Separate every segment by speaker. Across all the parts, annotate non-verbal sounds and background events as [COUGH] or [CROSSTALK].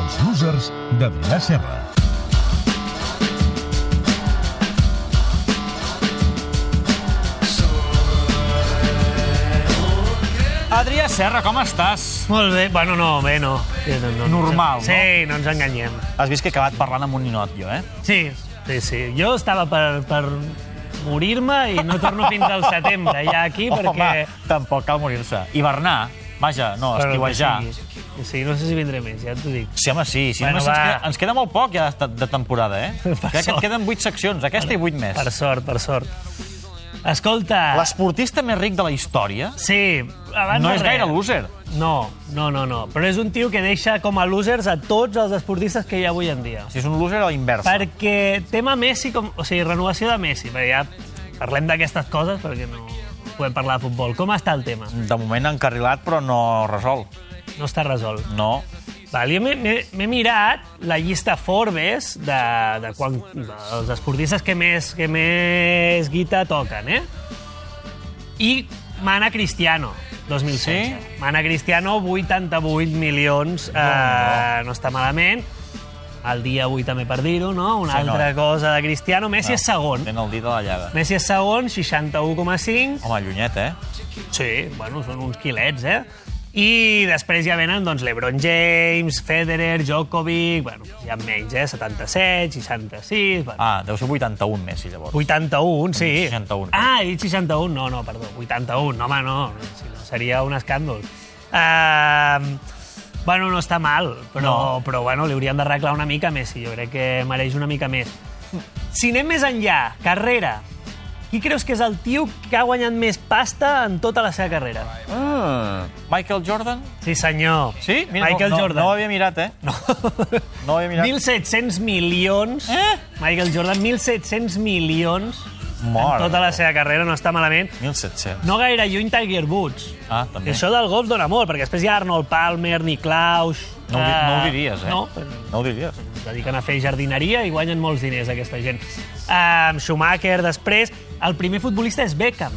Speaker 1: Notícies de Vila-serra.
Speaker 2: Adrià Serra, com estàs?
Speaker 3: Molt bé, bueno, no, bé, no. Eh, no, no
Speaker 2: Normal,
Speaker 3: no? Sí, no ens enganyem.
Speaker 2: Has vist que he acabat parlant amb un ninot, jo, eh?
Speaker 3: Sí, sí, sí. Jo estava per, per morir-me i no torno fins al setembre, ja
Speaker 2: [LAUGHS]
Speaker 3: aquí,
Speaker 2: Oh, Home,
Speaker 3: perquè...
Speaker 2: tampoc cal morir-se. Hivernar, vaja, no,
Speaker 3: per el que
Speaker 2: estiuejar.
Speaker 3: sigui. Sí, no sé si vindré més, ja t'ho dic.
Speaker 2: Sí, home, sí. sí
Speaker 3: Bueno,
Speaker 2: només ens,
Speaker 3: va.
Speaker 2: queda, ens queda molt poc ja de, de temporada, eh?
Speaker 3: [LAUGHS] Per
Speaker 2: Crec que et
Speaker 3: sort.
Speaker 2: queden 8 seccions, aquesta i 8 més.
Speaker 3: Per sort, per sort. Escolta...
Speaker 2: L'esportista més ric de la història
Speaker 3: Sí, abans
Speaker 2: no
Speaker 3: de
Speaker 2: és
Speaker 3: res.
Speaker 2: gaire loser.
Speaker 3: No, no, no, no. Però és un tio que deixa com a losers a tots els esportistes que hi ha avui en dia.
Speaker 2: Si és un loser a la inversa.
Speaker 3: Perquè tema Messi, com, o sigui, renovació de Messi, perquè ja parlem d'aquestes coses perquè no podem parlar de futbol. Com està el tema?
Speaker 2: De moment encarrilat, però no resolt.
Speaker 3: No està resolt.
Speaker 2: No.
Speaker 3: Val, jo m'he- m'he m'he mirat la llista Forbes de, de quan, dels esportistes que més, que més guita toquen, eh? I mana Cristiano, 2016.
Speaker 2: Sí?
Speaker 3: Sí? Mana Cristiano, 88 milions, eh, no està malament. El dia avui també per dir-ho, no? Una
Speaker 2: Sí, no.
Speaker 3: altra cosa de Cristiano. Messi
Speaker 2: Ah,
Speaker 3: és segon.
Speaker 2: Tenen el dit a la llaga.
Speaker 3: Messi és segon, 61,5.
Speaker 2: Home, llunyet, eh?
Speaker 3: Sí, bueno, són uns quilets, eh? I després ja venen doncs, l'Ebron James, Federer, Djokovic... Bueno, ja en menys, eh? 77, 66... Bueno. Ah.
Speaker 2: Ah, deu ser 81 Messi, llavors.
Speaker 3: 81, sí.
Speaker 2: 61.
Speaker 3: Ah, he dit 61, no, no, perdó. 81, no, home, no. Si no, Seria un escàndol. Uh, bueno, no està mal, però, no. però bueno, li hauríem d'arreglar una mica més. Jo crec que mereix una mica més. Si anem més enllà, carrera, qui creus que és el tio que ha guanyat més pasta en tota la seva carrera?
Speaker 2: Ah. Michael Jordan?
Speaker 3: Sí, senyor.
Speaker 2: Sí?
Speaker 3: Michael
Speaker 2: no, no-
Speaker 3: Jordan.
Speaker 2: No ho havia mirat, eh? No, no ho havia mirat.
Speaker 3: 1.700 milions.
Speaker 2: Eh?
Speaker 3: Michael Jordan, 1.700 milions.
Speaker 2: Mort.
Speaker 3: En tota la seva carrera, no està malament.
Speaker 2: 1.700.
Speaker 3: No gaire lluny Tiger Woods.
Speaker 2: Ah, també.
Speaker 3: I això del golf dona molt, perquè després hi ha Arnold Palmer, Niklaus...
Speaker 2: No, ho di-
Speaker 3: eh,
Speaker 2: no ho diries, eh?
Speaker 3: No, però
Speaker 2: No ho diries.
Speaker 3: es dediquen a fer jardineria i guanyen molts diners, aquesta gent. Um, Schumacher, després... El primer futbolista és Beckham.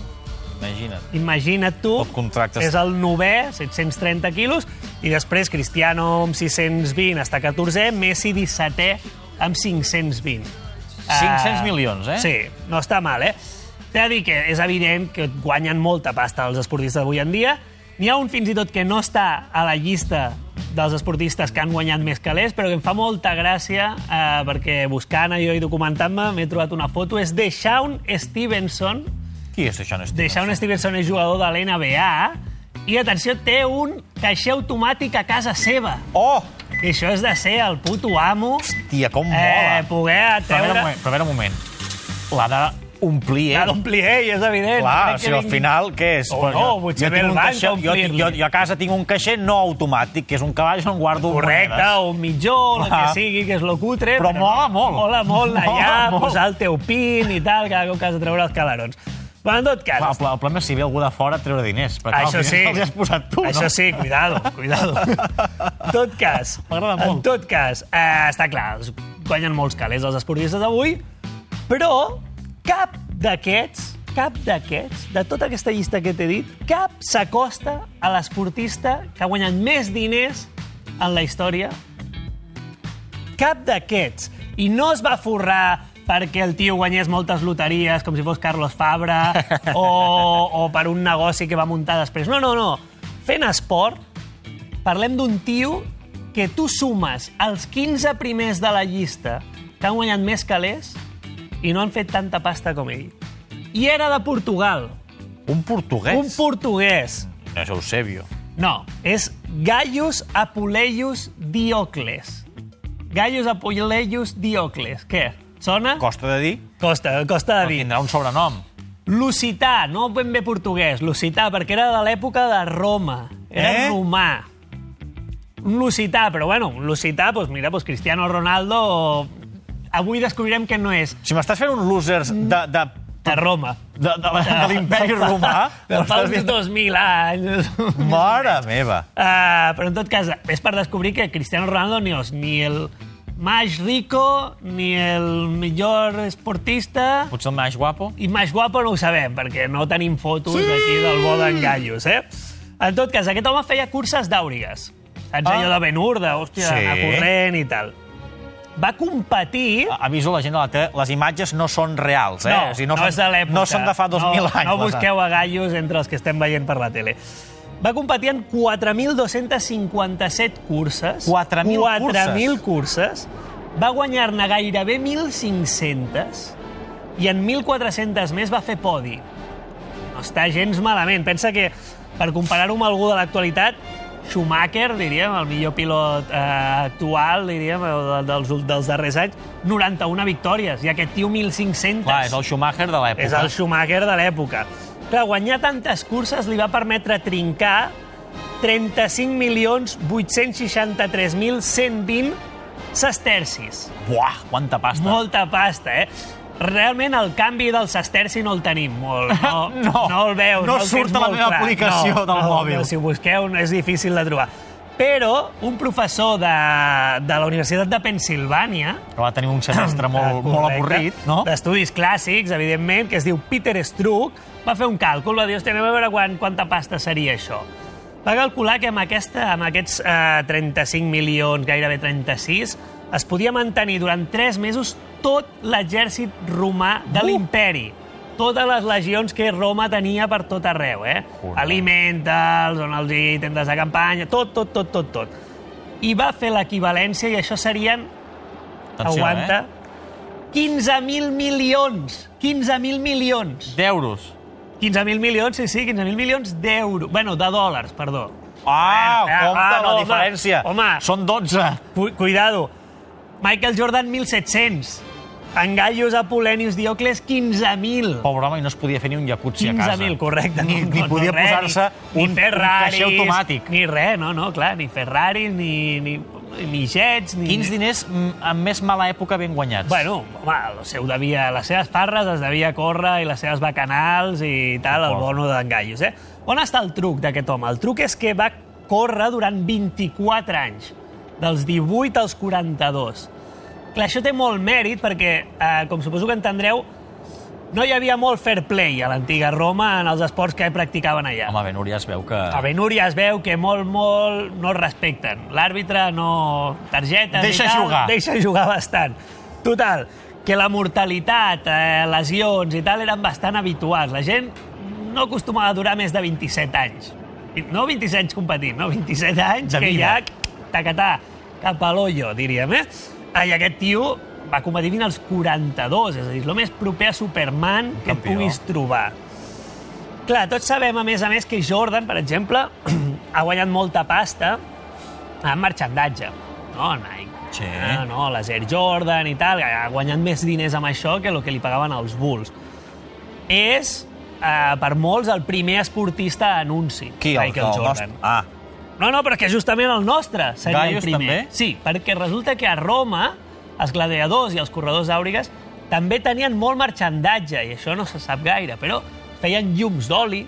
Speaker 2: Imagina't.
Speaker 3: Imagina't tu...
Speaker 2: Tot contractes.
Speaker 3: És el novè, 730 quilos, i després Cristiano amb 620 està 14è, Messi 17è amb 520.
Speaker 2: 500
Speaker 3: Ah,
Speaker 2: milions, eh?
Speaker 3: Sí, no està mal, eh? T'he de dir que és evident que guanyen molta pasta els esportistes d'avui en dia. N'hi ha un fins i tot que no està a la llista dels esportistes que han guanyat més calés, però que em fa molta gràcia, eh, perquè buscant jo i documentant-me m'he trobat una foto, és de Shaun Stevenson,
Speaker 2: Qui és això, Néstor?
Speaker 3: Deixaun Stevenson és jugador de l'NBA i, atenció, té un caixer automàtic a casa seva.
Speaker 2: Oh!
Speaker 3: I això és de ser el puto amo,
Speaker 2: Tia, com
Speaker 3: eh,
Speaker 2: mola.
Speaker 3: poder
Speaker 2: Però a veure, un
Speaker 3: treure...
Speaker 2: moment, però a veure un moment. L'ha d'omplir, eh?
Speaker 3: L'ha d'omplir ell, és evident.
Speaker 2: Clar,
Speaker 3: Crec que
Speaker 2: si al
Speaker 3: vingui-
Speaker 2: final, què és?
Speaker 3: O
Speaker 2: Pues
Speaker 3: no,
Speaker 2: jo-
Speaker 3: potser
Speaker 2: jo tinc
Speaker 3: ve el
Speaker 2: un
Speaker 3: banc
Speaker 2: caixer-
Speaker 3: a
Speaker 2: jo, tinc- jo,
Speaker 3: omplir-li.
Speaker 2: jo, a casa tinc un caixer no automàtic, que és un cavall on guardo
Speaker 3: Correcte,
Speaker 2: monedes.
Speaker 3: o un mitjó, el que
Speaker 2: Clar.
Speaker 3: sigui, que és lo cutre.
Speaker 2: Però mola molt.
Speaker 3: Mola molt anar
Speaker 2: [LAUGHS] Mola
Speaker 3: allà,
Speaker 2: molt.
Speaker 3: posar el teu pin i tal, cada cop que has de treure els calarons. Però en tot cas,
Speaker 2: Clar, el, pla- el problema és si ve algú de fora a treure diners. Perquè, clar,
Speaker 3: Això
Speaker 2: els
Speaker 3: sí.
Speaker 2: diners Els has posat tu,
Speaker 3: Això
Speaker 2: no?
Speaker 3: sí, cuidado, cuidado.
Speaker 2: [LAUGHS]
Speaker 3: En tot cas,
Speaker 2: M'agrada molt.
Speaker 3: en tot cas, eh, està clar, els guanyen molts calés els esportistes d'avui, però cap d'aquests, cap d'aquests, de tota aquesta llista que t'he dit, cap s'acosta a l'esportista que ha guanyat més diners en la història cap d'aquests. I no es va forrar perquè el tio guanyés moltes loteries, com si fos Carlos Fabra, o, o per un negoci que va muntar després. No, no, no. Fent esport, parlem d'un tio que tu sumes els 15 primers de la llista que han guanyat més calés i no han fet tanta pasta com ell. I era de Portugal.
Speaker 2: Un portuguès?
Speaker 3: Un portuguès.
Speaker 2: No és Eusebio.
Speaker 3: No, és Gaius Apuleius Diocles. Gaius Apuleius Diocles. Què? Sona?
Speaker 2: Costa de dir,
Speaker 3: Costa, costa de
Speaker 2: però
Speaker 3: dir.
Speaker 2: tindrà un sobrenom.
Speaker 3: Lusità, no ben bé portuguès, lusità, perquè era de l'època de Roma, era
Speaker 2: Eh?
Speaker 3: eh? romà. Un lusità, però bueno, un lusità, doncs mira, doncs Cristiano Ronaldo... o- Avui descobrirem que no és
Speaker 2: Si m'estàs fent un losers de, de,
Speaker 3: de Roma.
Speaker 2: de, de, la- de l'imperi romà...
Speaker 3: [LAUGHS] De fa
Speaker 2: m'estàs
Speaker 3: uns
Speaker 2: dient-
Speaker 3: 2.000 anys.
Speaker 2: Mare meva!
Speaker 3: Uh, però en tot cas, és per descobrir que Cristiano Ronaldo ni, és ni el més rico, ni el millor esportista,
Speaker 2: Potser el més guapo?
Speaker 3: i més guapo no ho sabem, perquè no tenim fotos sí! aquí del bo d'en Gallos, eh? En tot cas, aquest home feia curses d'àurigues. Saps ah. allò de Ben Hur, de,
Speaker 2: Sí.
Speaker 3: hòstia, sí. anar corrent i tal. Va competir...
Speaker 2: A- Aviso la gent de la tele, les imatges no són reals, eh? O sigui,
Speaker 3: no, és de l'època.
Speaker 2: No són de fa 2.000
Speaker 3: no,
Speaker 2: anys.
Speaker 3: No
Speaker 2: les-
Speaker 3: busqueu a gallos entre els que estem veient per la tele. Va competir en 4.257 curses.
Speaker 2: 4.000
Speaker 3: 4.000 curses. Va guanyar-ne gairebé 1.500 i en 1.400 més va fer podi. No està gens malament. Pensa que, per comparar-ho amb algú de l'actualitat, Schumacher, diríem, el millor pilot eh, actual, diríem, eh, dels, ul- dels darrers anys, 91 victòries, i aquest tio 1.500.
Speaker 2: Clar, és el Schumacher de l'època.
Speaker 3: És el Schumacher de l'època. Clar, guanyar tantes curses li va permetre trincar 35.863.120 sestercis.
Speaker 2: Buah, quanta pasta.
Speaker 3: Molta pasta, eh? Realment el canvi del sesterci no el tenim molt. No,
Speaker 2: [LAUGHS] No,
Speaker 3: no el veus.
Speaker 2: no
Speaker 3: el tens
Speaker 2: surt a la
Speaker 3: molt
Speaker 2: meva
Speaker 3: clar.
Speaker 2: aplicació
Speaker 3: no,
Speaker 2: del
Speaker 3: no,
Speaker 2: mòbil.
Speaker 3: No, si ho busqueu no és difícil de trobar. Però un professor de, de la Universitat de Pensilvània,
Speaker 2: Que va tenir un
Speaker 3: [COUGHS]
Speaker 2: semestre
Speaker 3: Ah,
Speaker 2: molt,
Speaker 3: correcte.
Speaker 2: molt avorrit, no?
Speaker 3: D'estudis clàssics, evidentment, que es diu Peter Struck, va fer un càlcul, va dir, hòstia, anem a veure quan, quanta pasta seria això. Va calcular que amb, aquesta, amb aquests eh, 35 milions, gairebé 36, es podia mantenir durant 3 mesos tot l'exèrcit romà de
Speaker 2: Uh!
Speaker 3: l'imperi. Totes les legions que Roma tenia per tot arreu, eh?
Speaker 2: Correcte.
Speaker 3: Alimenta'ls, on els hi, tendes de campanya, tot, tot, tot, tot, tot. I va fer l'equivalència, i això serien
Speaker 2: Atenció,
Speaker 3: aguanta. Eh? 15.000 milions. 15.000 milions.
Speaker 2: Eh? D'euros.
Speaker 3: 15.000 milions, sí, sí, 15.000 milions d'euros. Bueno, de dòlars, perdó.
Speaker 2: Ah,
Speaker 3: Eh, eh,
Speaker 2: compte
Speaker 3: ah, no,
Speaker 2: la
Speaker 3: home,
Speaker 2: diferència.
Speaker 3: home.
Speaker 2: Són 12.
Speaker 3: Cu cuidado. Michael Jordan, 1.700. En Gaius Apolenius Diocles, 15.000.
Speaker 2: Pobre home, i no es podia fer ni un jacuzzi a casa.
Speaker 3: 15.000, correcte.
Speaker 2: Oh, Ni,
Speaker 3: no,
Speaker 2: ni
Speaker 3: no,
Speaker 2: podia
Speaker 3: no, res,
Speaker 2: posar-se
Speaker 3: ni-
Speaker 2: un,
Speaker 3: ni
Speaker 2: un
Speaker 3: Ferraris,
Speaker 2: caixer automàtic.
Speaker 3: Ni res, no, no, clar, ni Ferraris, ni, ni, ni jets, ni...
Speaker 2: Quins diners mm, amb més mala època ben guanyats?
Speaker 3: Bueno, home, el seu devia, les seves farres es devia córrer i les seves bacanals i tal, el
Speaker 2: D'acord.
Speaker 3: bono d'engallos, eh? On està el truc d'aquest home? El truc és que va córrer durant 24 anys, dels 18 als 42. Clar, això té molt mèrit perquè, eh, com suposo que entendreu, no hi havia molt fair play a l'antiga Roma en els esports que practicaven allà.
Speaker 2: Home, Ben Hur ja es veu que...
Speaker 3: A Benúria es veu que molt, molt no es respecten. L'àrbitre no... Targetes
Speaker 2: Deixa
Speaker 3: i tal,
Speaker 2: jugar.
Speaker 3: Deixa jugar bastant. Total, que la mortalitat, eh, lesions i tal eren bastant habituals. La gent no acostumava a durar més de 27 anys. Vi- No 27 anys competint, no? 27 anys
Speaker 2: De
Speaker 3: que
Speaker 2: vida.
Speaker 3: ja tacatà, cap a l'ollo, diríem, eh? Ah, I aquest tio va competir fins als 42, és a dir, és el més proper a Superman que et
Speaker 2: campió.
Speaker 3: puguis trobar. Clar, tots sabem, a més a més, que Jordan, per exemple, [CLEARS THROAT] ha guanyat molta pasta en merchandatge. No, Nike.
Speaker 2: Sí.
Speaker 3: No, no, les Air Jordan i tal. Ha guanyat més diners amb això que el que li pagaven els Bulls. És, eh, per molts, el primer esportista a anunci.
Speaker 2: Qui, el,
Speaker 3: Michael
Speaker 2: el
Speaker 3: Jordan.
Speaker 2: nostre? Ah,
Speaker 3: No, no, però que justament el nostre seria
Speaker 2: Gaius
Speaker 3: el primer.
Speaker 2: també?
Speaker 3: Sí, perquè resulta que a Roma els gladiadors i els corredors àuriges també tenien molt marxandatge, i això no se sap gaire, però feien llums d'oli,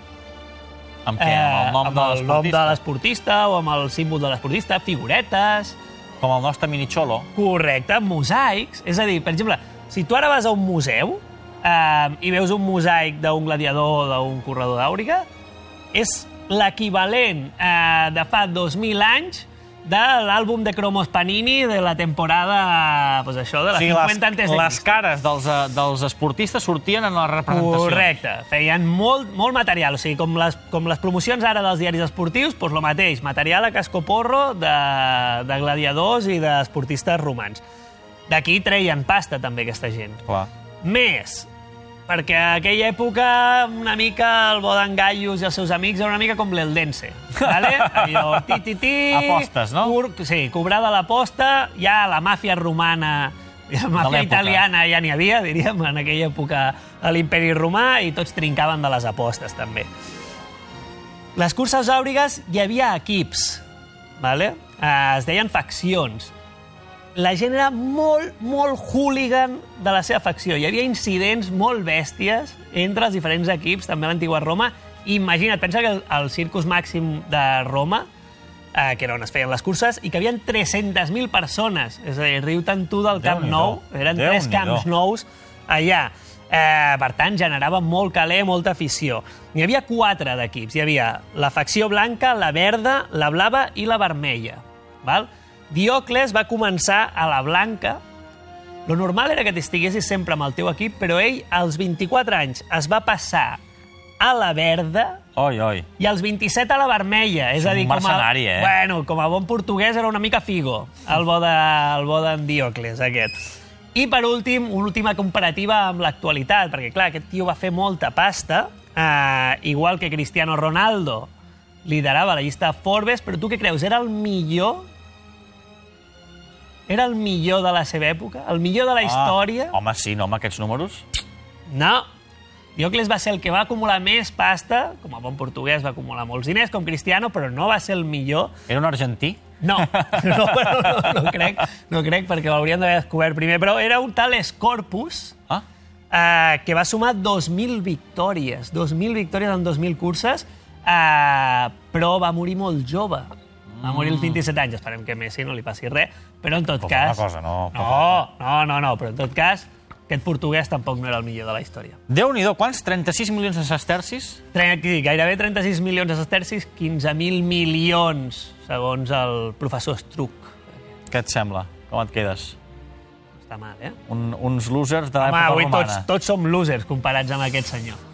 Speaker 2: amb què? Amb el nom
Speaker 3: Eh, amb el nom de
Speaker 2: l'esportista?
Speaker 3: l'esportista o amb el símbol de l'esportista, figuretes,
Speaker 2: Com el nostre mini-xolo.
Speaker 3: correcte, mosaics. És a dir, per exemple, si tu ara vas a un museu eh, i veus un mosaic d'un gladiador o d'un corredor d'àuriga, és l'equivalent eh, de fa 2.000 anys de l'àlbum de Cromos Panini de la temporada, doncs això, de la 50 antes de
Speaker 2: les, les
Speaker 3: Crist.
Speaker 2: cares dels, eh, dels esportistes sortien en la representació.
Speaker 3: Correcte, feien molt, molt material, o sigui, com les, com les promocions ara dels diaris esportius, doncs el mateix, material a cascoporro de, de gladiadors i d'esportistes romans. D'aquí treien pasta, també, aquesta gent.
Speaker 2: Clar.
Speaker 3: Més, perquè a aquella època una mica el Bodan Gaius i els seus amics era una mica com l'Eldense.
Speaker 2: [LAUGHS]
Speaker 3: Vale? Allò, ti, ti, ti...
Speaker 2: Apostes, no?
Speaker 3: Cur, sí, cobrada l'aposta, ja la màfia romana, la màfia
Speaker 2: l'època.
Speaker 3: italiana ja n'hi havia, diríem, en aquella època a l'imperi romà, i tots trincaven de les apostes, també. Les curses àurigues hi havia equips, vale? Eh, es deien faccions. La gent era molt, molt hooligan de la seva facció. Hi havia incidents molt bèsties entre els diferents equips, també a l'antigua Roma. Imagina't, pensa que el, el Circus Màxim de Roma, eh, que era on es feien les curses, i que hi havia 300.000 persones. És a dir, riu-te'n tu del Camp
Speaker 2: Déu-n'hi-do.
Speaker 3: Nou. Eren tres
Speaker 2: Déu-n'hi-do.
Speaker 3: camps nous allà. Eh, per tant, generava molt caler, molta afició. N'hi havia quatre d'equips. Hi havia la facció blanca, la verda, la blava i la vermella. Val? Diocles va començar a la Blanca. Lo normal era que t'estiguessis sempre amb el teu equip, però ell, als 24 anys, es va passar a la Verda
Speaker 2: Oi, oi.
Speaker 3: i als 27 a la Vermella. És a
Speaker 2: un
Speaker 3: dir, com a,
Speaker 2: mercenari, eh?
Speaker 3: bueno, com a bon portuguès era una mica figo, el bo de- el bo d'en de, Diocles, aquest. I per últim, una última comparativa amb l'actualitat, perquè clar, aquest tio va fer molta pasta, eh, igual que Cristiano Ronaldo liderava la llista Forbes, però tu què creus, era el millor? Era el millor de la seva època? El millor de la història?
Speaker 2: Ah, home, sí, no, amb aquests números.
Speaker 3: No. Diocles va ser el que va acumular més pasta, com a bon portuguès va acumular molts diners, com Cristiano, però no va ser el millor.
Speaker 2: Era un argentí?
Speaker 3: No, [LAUGHS] no, no, no, no crec, no crec, perquè l'hauríem d'haver descobert primer. Però era un tal Scorpus
Speaker 2: Ah,
Speaker 3: eh, que va sumar 2.000 victòries, 2.000 victòries en 2.000 curses, eh, però va morir molt jove. Va morir als 27 anys, esperem que a Messi no li passi res, però en tot
Speaker 2: Mm. Poca
Speaker 3: cas...
Speaker 2: cosa, no, poca
Speaker 3: No, no, no, no, però en tot cas, aquest portuguès tampoc no era el millor de la història.
Speaker 2: Déu-n'hi-do, quants? 36 milions de sestercis?
Speaker 3: Tranqui, gairebé 36 milions de sestercis, 15.000 milions, segons el professor Struck.
Speaker 2: Què et sembla? Com et quedes?
Speaker 3: Està mal, eh?
Speaker 2: Un, uns losers de
Speaker 3: Home,
Speaker 2: l'època
Speaker 3: avui
Speaker 2: romana.
Speaker 3: tots, tots som losers comparats amb aquest senyor.